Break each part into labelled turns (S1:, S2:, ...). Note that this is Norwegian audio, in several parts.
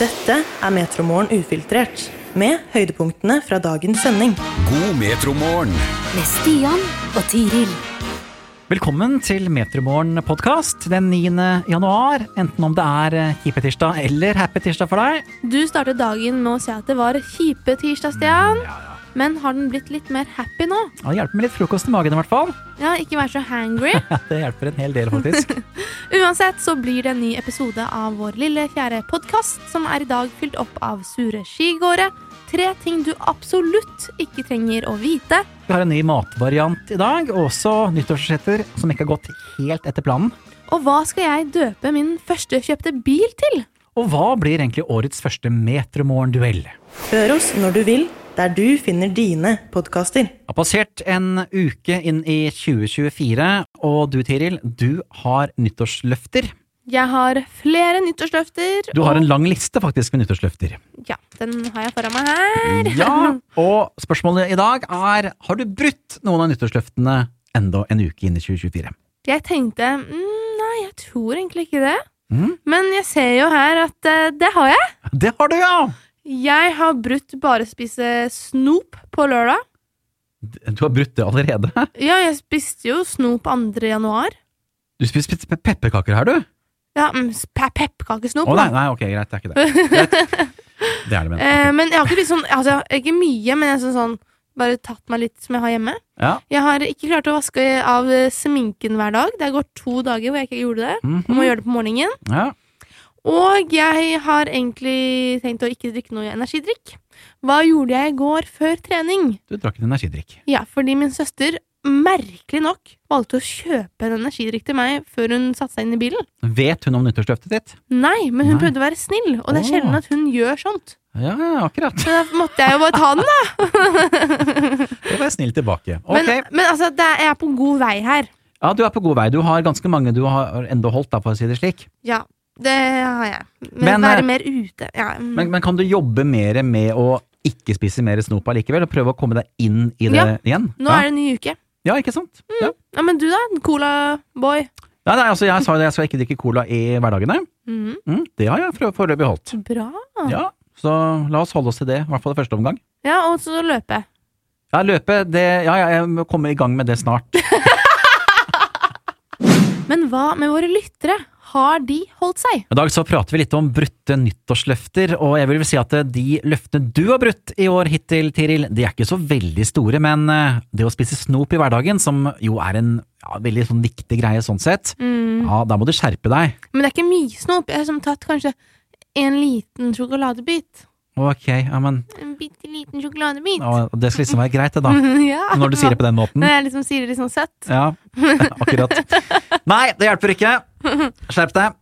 S1: Dette er Metromorgen ufiltrert, med høydepunktene fra dagens sending.
S2: God metromorgen.
S3: med Stian og Tiril.
S4: Velkommen til Metromorgen podkast den 9. januar. Enten om det er eh, kjipe tirsdag eller happy tirsdag for deg.
S5: Du startet dagen med å si at det var kjipe tirsdag, Stian.
S4: Mm,
S5: Men har den blitt litt mer happy nå?
S4: Ja, Det hjelper med litt frokost i magen i hvert fall.
S5: Ja, ikke vær så hangry.
S4: Ja, Det hjelper en hel del, faktisk.
S5: Uansett så blir det en ny episode av vår lille fjerde podkast, som er i dag fylt opp av sure skigåere, tre ting du absolutt ikke trenger å vite,
S4: Vi har en ny matvariant i dag, og også nyttårsforsetter som ikke har gått helt etter planen.
S5: og hva skal jeg døpe min førstekjøpte bil til?
S4: Og hva blir egentlig årets første Metromorgen-duell? Det
S1: Hør oss når du vil, der du finner dine podkaster.
S4: har passert en uke inn i 2024, og du Tiril, du har nyttårsløfter.
S5: Jeg har flere nyttårsløfter.
S4: Du har
S5: og-
S4: en lang liste faktisk med nyttårsløfter.
S5: Ja, den har jeg foran meg her.
S4: Ja, og spørsmålet i dag er Har du brutt noen av nyttårsløftene enda en uke inn i 2024?
S5: Jeg tenkte mm, Nei, jeg tror egentlig ikke det.
S4: Mm.
S5: Men jeg ser jo her at eh, det har jeg.
S4: Det har du, ja!
S5: Jeg har brutt bare spise snop på lørdag.
S4: Du har brutt det allerede.
S5: Ja, jeg spiste jo snop 2. januar.
S4: Du spiser pe- pepperkaker her, du?
S5: Ja, mm, s- pe pepperkakesnop.
S4: Å nei,
S5: da.
S4: nei, ok, greit, det er ikke det. Greit. Det er det,
S5: Eh,
S4: men.
S5: men jeg har ikke spist sånn altså, jeg har Ikke mye, men jeg har sånn, sånn bare tatt meg litt som jeg har hjemme.
S4: Ja.
S5: Jeg har ikke klart å vaske av eh, sminken hver dag. Det har gått to dager hvor jeg ikke gjorde det. Jeg må
S4: Mhm.
S5: gjøre det på morgenen.
S4: ja.
S5: Og jeg har egentlig tenkt å ikke drikke noe energidrikk. Hva gjorde jeg i går før trening?
S4: Du drakk en energidrikk.
S5: Ja, fordi min søster, merkelig nok, valgte å kjøpe en energidrikk til meg før hun satte seg inn i bilen.
S4: Vet hun om nyttårsløftet ditt?
S5: Nei, men hun
S4: Nei.
S5: prøvde å være snill, og det er
S4: Åh.
S5: sjelden at hun gjør sånt.
S4: Ja, ja, akkurat.
S5: Så da måtte jeg jo bare ta den, da.
S4: Det var jeg snill tilbake.
S5: Men,
S4: Ok,
S5: men altså, det er, jeg er på god vei her.
S4: ja, du er på god vei. Du har ganske mange du har enda holdt, da, for å si det slik.
S5: Ja, det har jeg. Men,
S4: Men, eh,
S5: være mer ute ja. mm.
S4: Men, men kan du jobbe mer med å ikke spise mer snop allikevel, og prøve å komme deg inn i det
S5: Ja.
S4: igjen?
S5: Nå
S4: ja.
S5: er det en ny uke.
S4: ja, ikke sant? Ja.
S5: Ja, men du da, en cola-boy.
S4: Nei, nei, altså jeg sa jo det, jeg skal ikke drikke cola i hverdagene.
S5: Mhm.
S4: Mm, det har jeg for- foreløpig holdt.
S5: Bra.
S4: Ja, Så la oss holde oss til det, i hvert fall i første omgang.
S5: Ja, og så løpe.
S4: Ja, løpe, det Ja, ja, jeg må komme i gang med det snart.
S5: Men hva med våre lyttere? Har de holdt seg?
S4: I dag så prater vi litt om brutte nyttårsløfter, og jeg vil vel si at eh, de løftene du har brutt i år hittil, Tiril, de er ikke så veldig store, men eh, det å spise snop i hverdagen, som jo er en ja, veldig sånn viktig greie sånn sett, ja, da må du skjerpe deg.
S5: Men det er ikke mye snop. Jeg har liksom tatt kanskje en liten sjokoladebit.
S4: Ok, ja, men
S5: En bitte liten sjokoladebit.
S4: ja, det skal liksom være greit, det da.
S5: ja.
S4: Når du sier det på den måten.
S5: Når jeg liksom sier det litt sånn søtt.
S4: Ja, akkurat. Nei, det hjelper ikke. Skjerp deg.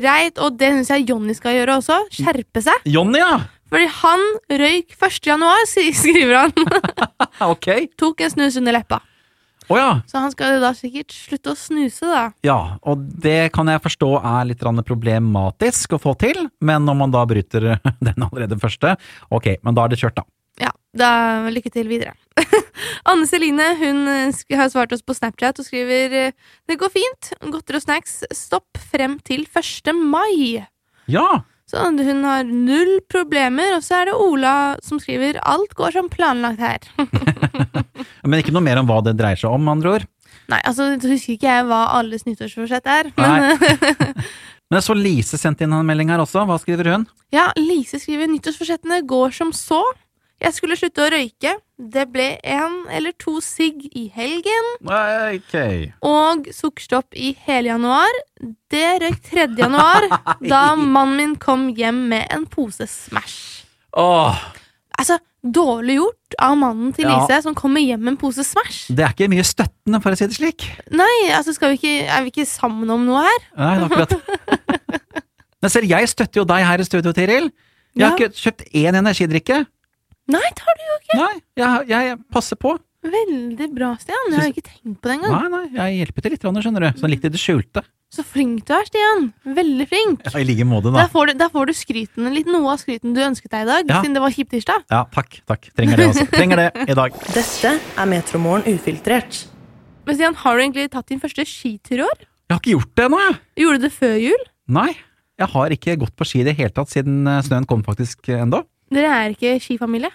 S5: Greit, og det syns jeg Jonny skal gjøre også. Skjerpe seg.
S4: Jonny, ja!
S5: Fordi han røyk 1. januar, si- skriver han.
S4: Ja, Ok.
S5: Tok en snus under leppa.
S4: Å ja.
S5: Så han skal jo da sikkert slutte å snuse, da.
S4: Ja, og det kan jeg forstå er litt grann problematisk å få til, men når man da bryter den allerede første, ok, men da er det kjørt, da.
S5: Ja, da lykke til videre. Anne Celine hun eh, sk- har svart oss på Snapchat og skriver eh, Det går fint. Godteri og snacks. Stopp frem til 1. mai.
S4: Ja!
S5: Så hun har null problemer, og så er det Ola som skriver Alt går som planlagt her.
S4: Men ikke noe mer om hva det dreier seg om, med andre ord.
S5: Nei, altså, så husker ikke jeg hva alles nyttårsforsett er. Men eh,
S4: Nei. Men jeg så Lise sendte inn en melding her også, hva skriver hun?
S5: ja, Lise skriver nyttårsforsettene går som så. Jeg skulle slutte å røyke. Det ble en eller to sigg i helgen.
S4: Ok.
S5: og sukkerstopp i hele januar. Det røyk 3. januar, da mannen min kom hjem med en pose Smash.
S4: Åh,
S5: Altså, dårlig gjort av mannen til
S4: Ja.
S5: Lise, som kommer hjem med en pose Smash.
S4: det er ikke mye støttende, for å si det slik.
S5: Nei, altså, skal vi ikke, er vi ikke sammen om noe her?
S4: Nei, det er akkurat. Men selv jeg støtter jo deg her i studio, Tiril. Jeg har
S5: Ja.
S4: ikke kjøpt én energidrikke.
S5: Nei, det har du jo
S4: Nei, jeg, jeg passer på.
S5: veldig bra, Stian. Jeg har ikke tenkt på det engang.
S4: Nei, nei, jeg hjelper til litt, Ronny, skjønner du. Sånn litt i det skjulte.
S5: Så flink du er, Stian. Veldig flink.
S4: I like måte,
S5: Der får du, der får du skryten, litt noe av skryten du ønsket deg i dag,
S4: Ja.
S5: siden det var kjipt tirsdag.
S4: Ja, takk. takk. Trenger det også. Trenger det i dag.
S1: Dette er Metromorgen ufiltrert.
S5: Men Stian, har du egentlig tatt din første skitur i år?
S4: Jeg har ikke gjort det ennå, jeg.
S5: Gjorde du det før jul?
S4: Nei. Jeg har ikke gått på ski i det hele tatt siden eh, snøen kom faktisk eh, ennå.
S5: Dere er ikke skifamilie?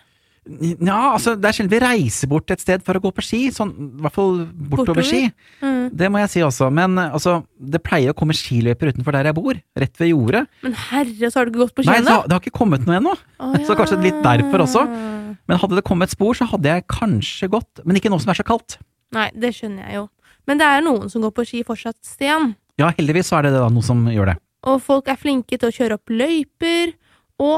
S4: Ja, altså, det er sjelden vi reiser bort et sted for å gå på ski. Sånn, i hvert fall bortover,
S5: Bortover?
S4: ski.
S5: Mm.
S4: Det må jeg si også. Men eh, altså, det pleier å komme skiløyper utenfor der jeg bor. Rett ved jordet.
S5: Men herre, så har du ikke gått på ski
S4: Nei,
S5: ennå?
S4: så, det har ikke kommet noe ennå.
S5: Å,
S4: så kanskje litt derfor også.
S5: ja.
S4: Men hadde det kommet spor, så hadde jeg kanskje gått. Men ikke nå som det er så kaldt.
S5: Nei, det skjønner jeg jo. Men det er noen som går på ski fortsatt, Stian.
S4: Ja, heldigvis så er det da noe som gjør det.
S5: Og folk er flinke til å kjøre opp løyper. Og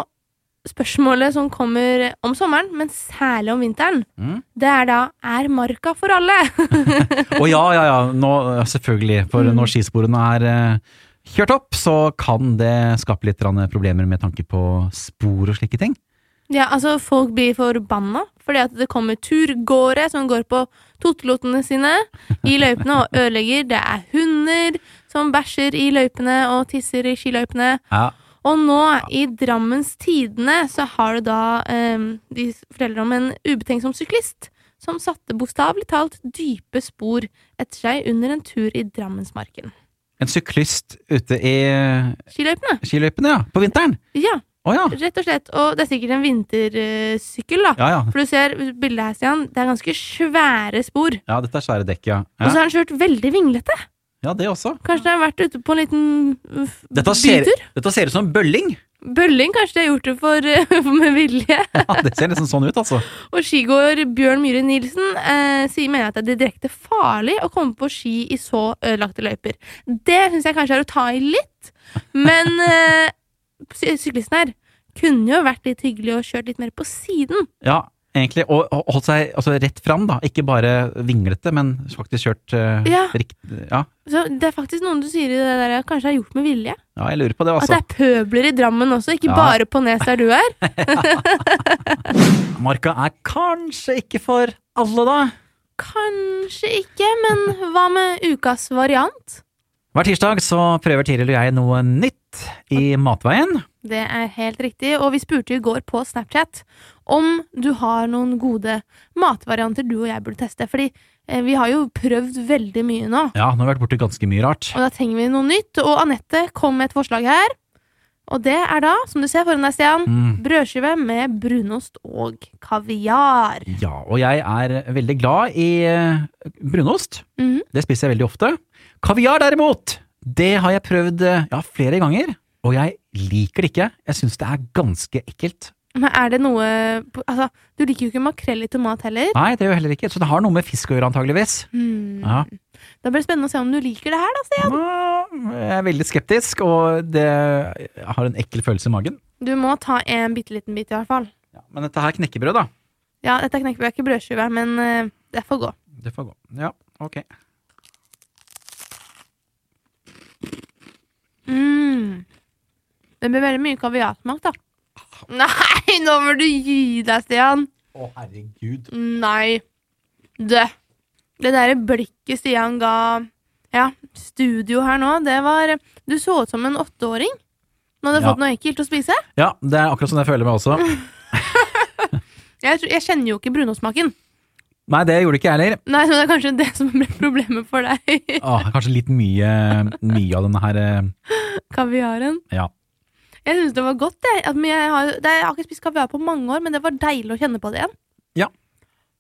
S5: spørsmålet som kommer om sommeren, men særlig om vinteren,
S4: Mm.
S5: det er da er marka for alle?
S4: Å ja, ja, ja. Nå, ja, selvfølgelig. For
S5: Mm.
S4: når skisporene er eh, kjørt opp, så kan det skape litt grann problemer med tanke på spor og slike ting.
S5: ja, altså folk blir forbanna fordi at det kommer turgåere som går på tottelotene sine i løypene og ødelegger. Det er hunder som bæsjer i løypene og tisser i skiløypene.
S4: Ja.
S5: Og nå, i Drammens Tidende, så har du da eh, De forteller om en ubetenksom syklist som satte bokstavelig talt dype spor etter seg under en tur i Drammensmarken.
S4: En syklist ute i
S5: Skiløypene.
S4: skiløypene, ja. På vinteren.
S5: Ja,
S4: Å ja.
S5: rett og slett. Og det er sikkert en vintersykkel, da.
S4: Ja, ja.
S5: For du ser bildet her, Stian. Det er ganske svære spor.
S4: Ja, dette er svære dekk, ja.
S5: Og
S4: Ja,
S5: så har han kjørt veldig vinglete.
S4: ja det også.
S5: Kanskje det har vært ute på en liten uh,
S4: Dette ser,
S5: bytur?
S4: dette ser ut som bølling.
S5: Bølling, kanskje de har gjort det for, eh, med vilje.
S4: Ja, det ser nesten sånn ut, altså.
S5: Og skigåer Bjørn Myhre Nilsen eh, sier mener at det er direkte farlig å komme på ski i så ødelagte løyper. Det syns jeg kanskje er å ta i litt, men eh, sy- syklisten her kunne jo vært litt hyggelig og kjørt litt mer på siden.
S4: Ja, egentlig. Og, og holdt seg altså, rett fram, da. Ikke bare vinglete, men faktisk kjørt eh,
S5: Ja.
S4: riktig. Ja.
S5: Så Det er faktisk noen du sier i det der kanskje er gjort med vilje.
S4: ja, jeg lurer på det,
S5: At
S4: altså.
S5: det er pøbler i Drammen også, ikke
S4: Ja.
S5: bare på Nes der du er.
S4: Marka er kanskje ikke for alle, da.
S5: Kanskje ikke, men hva med ukas variant?
S4: Hver tirsdag så prøver Tiril og jeg noe nytt i Matveien.
S5: Det er helt riktig, og vi spurte i går på Snapchat om du har noen gode matvarianter du og jeg burde teste. Fordi eh, vi har jo prøvd veldig mye nå,
S4: Ja, nå har vi vært borti ganske mye rart.
S5: og da trenger vi noe nytt. Og Anette kom med et forslag her, og det er da, som du ser foran deg, Stian,
S4: Mm.
S5: brødskive med brunost og kaviar.
S4: Ja, og jeg er veldig glad i eh, brunost.
S5: Mhm.
S4: Det spiser jeg veldig ofte. Kaviar derimot, det har jeg prøvd eh, ja, flere ganger, og jeg liker det ikke. Jeg syns det er ganske ekkelt.
S5: Men er det noe Altså, du liker jo ikke makrell i tomat heller.
S4: Nei, det gjør jeg heller ikke. Så det har noe med fisk å gjøre, antageligvis.
S5: Hmm.
S4: Ja.
S5: Da blir det spennende å se om du liker det her, da, Stian.
S4: Jeg er veldig skeptisk, og det jeg har en ekkel følelse i magen.
S5: Du må ta en bitte liten bit, i hvert fall.
S4: Ja, men dette her knekkebrød, da.
S5: Ja, dette er knekkebrød, ikke brødskive, men eh, det får gå.
S4: Det får gå. Ja, ok.
S5: Mm. Det blir veldig mye kaviarsmak, da. Nei, nå må du gi deg, Stian.
S4: Å, herregud.
S5: Nei. Det. Det der blikket Stian ga ja, studio her nå, det var Du så ut som en åtteåring. Nå hadde du
S4: Ja.
S5: fått noe ekkelt å spise.
S4: Ja, det er akkurat sånn jeg føler meg også.
S5: Jeg, tror- jeg kjenner jo ikke brunostsmaken.
S4: Nei, det gjorde ikke jeg heller.
S5: Nei, så det er kanskje det som ble problemet for deg.
S4: Åh, Ah, kanskje litt mye, mye av denne her eh,
S5: Kaviaren.
S4: Ja.
S5: Jeg syns det var godt, jeg. At- men jeg har, det, jeg har ikke spist kaviar på mange år, men det var deilig å kjenne på det igjen.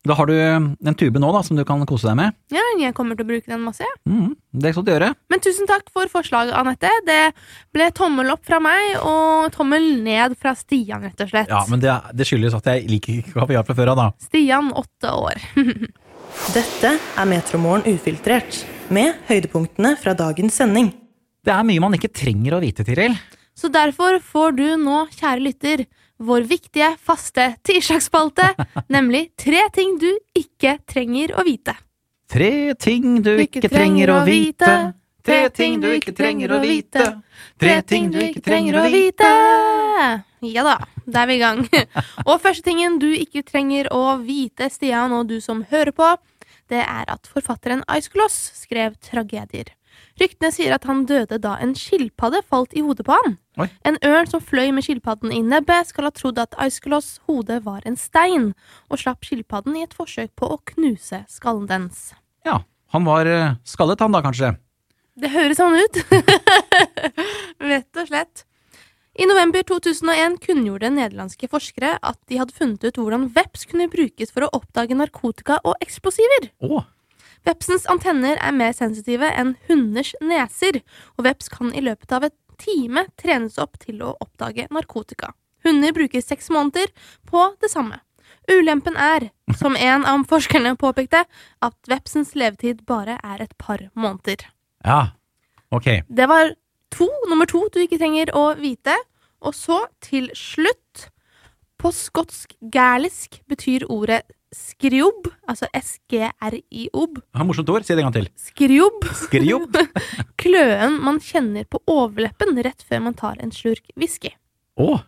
S4: Da har du eh, en tube nå da, som du kan kose deg med.
S5: Ja, jeg kommer til å bruke den masse. jeg.
S4: Mm, det er ikke sånn å gjøre.
S5: Men tusen takk for forslaget, Anette. Det ble tommel opp fra meg og tommel ned fra Stian, rett og slett.
S4: Ja, men det, det skyldes at jeg liker ikke kaviar fra før av, da.
S5: Stian, åtte år.
S1: Dette er Metromorgen ufiltrert, med høydepunktene fra dagens sending.
S4: Det er mye man ikke trenger å vite, Tiril.
S5: Så derfor får du nå, kjære lytter, vår viktige, faste tirsdagsspalte, nemlig tre ting du ikke trenger å vite.
S4: Tre ting du ikke, trenger å vite. Tre ting du ikke trenger å vite. Tre ting du ikke trenger å vite.
S5: Ja da, da er vi i gang. og første tingen du ikke trenger å vite, Stian og du som hører på, det er at forfatteren Ice Gloss skrev tragedier. Ryktene sier at han døde da en skilpadde falt i hodet på han.
S4: Oi.
S5: En ørn som fløy med skilpadden i nebbet, skal ha trodd at Ice Gloss' hode var en stein, og slapp skilpadden i et forsøk på å knuse skallen dens.
S4: Ja, han var eh, skallet han da, kanskje.
S5: Det høres sånn ut. Rett og slett. I november 2001 kunngjorde nederlandske forskere at de hadde funnet ut hvordan veps kunne brukes for å oppdage narkotika og eksplosiver.
S4: Å,
S5: Vepsens antenner er mer sensitive enn hunders neser, og veps kan i løpet av en time trenes opp til å oppdage narkotika. Hunder bruker seks måneder på det samme. Ulempen er, som en av forskerne påpekte, at vepsens levetid bare er et par måneder.
S4: ja. Ok.
S5: Det var to, nummer to du ikke trenger å vite. Og så, til slutt På skotsk-gælisk betyr ordet skriob, altså s-g-r-i-ob,
S4: Det var et Morsomt ord. Si det en gang til.
S5: skriob,
S4: Skriob.
S5: kløen man kjenner på overleppen rett før man tar en slurk whisky.
S4: Å,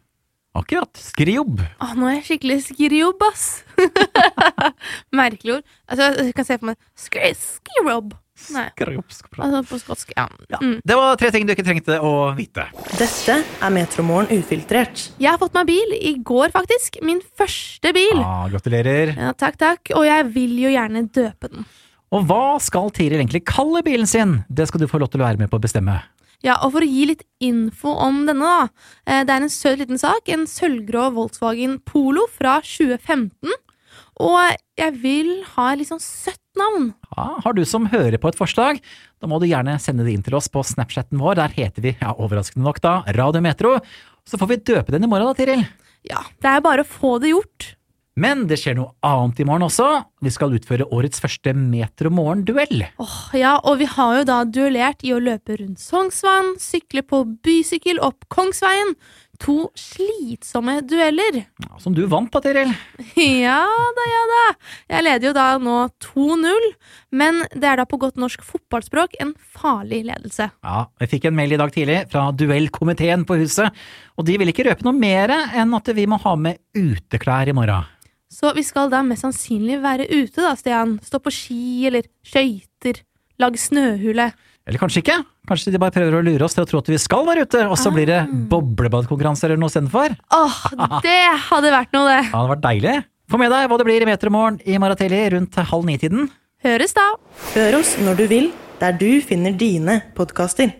S4: akkurat. Skriob.
S5: Åh, nå er jeg skikkelig skriob, ass! Merkelig ord. Altså, jeg kan se for meg skri, skriob. Nei,
S4: Skriob. skriob.
S5: altså på skotsk, ja.
S4: Ja.
S5: Mm.
S4: Det var tre ting du ikke trengte å vite.
S1: Dette er Metromorgen ufiltrert.
S5: Jeg har fått meg bil i går, faktisk. Min første bil.
S4: Ah, gratulerer.
S5: Ja, takk, takk. Og jeg vil jo gjerne døpe den.
S4: Og hva skal Tiril egentlig kalle bilen sin? Det skal du få lov til å være med på å bestemme.
S5: Ja, og for å gi litt info om denne, da. eh, Det er en søt liten sak. En sølvgrå Volkswagen Polo fra 2015. Og jeg vil ha et litt sånn søtt navn.
S4: Ja, har du som hører på et forslag, da må du gjerne sende det inn til oss på Snapchatten vår. Der heter vi, ja, overraskende nok da, Radio Metro. Så får vi døpe den i morgen da, Tiril.
S5: Ja, det er bare å få det gjort.
S4: Men det skjer noe annet i morgen også. Vi skal utføre årets første Metro-morgen-duell.
S5: Åh, ja, og vi har jo da duellert i å løpe rundt Sognsvann, sykle på bysykkel opp Kongsveien. To slitsomme dueller.
S4: Ja, Som du vant på, Tiril.
S5: Ja da, ja da. Jeg leder jo da nå 2-0, men det er da på godt norsk fotballspråk en farlig ledelse.
S4: Ja, jeg fikk en mail i dag tidlig fra duellkomiteen på huset, og de vil ikke røpe noe mer enn at vi må ha med uteklær i morgen.
S5: Så vi skal da mest sannsynlig være ute, da, Stian. Stå på ski eller skøyter. Lage snøhule.
S4: Eller kanskje ikke? Kanskje de bare prøver å lure oss til å tro at vi skal være ute, og så blir det boblebadkonkurranser eller noe istedenfor?
S5: Åh, det hadde vært noe, det.
S4: Ja, det hadde vært deilig. Få med deg hva det blir i Metermorgen i morgen tidlig rundt halv ni-tiden.
S5: Høres, da.
S1: Hør oss når du vil, der du finner dine podkaster.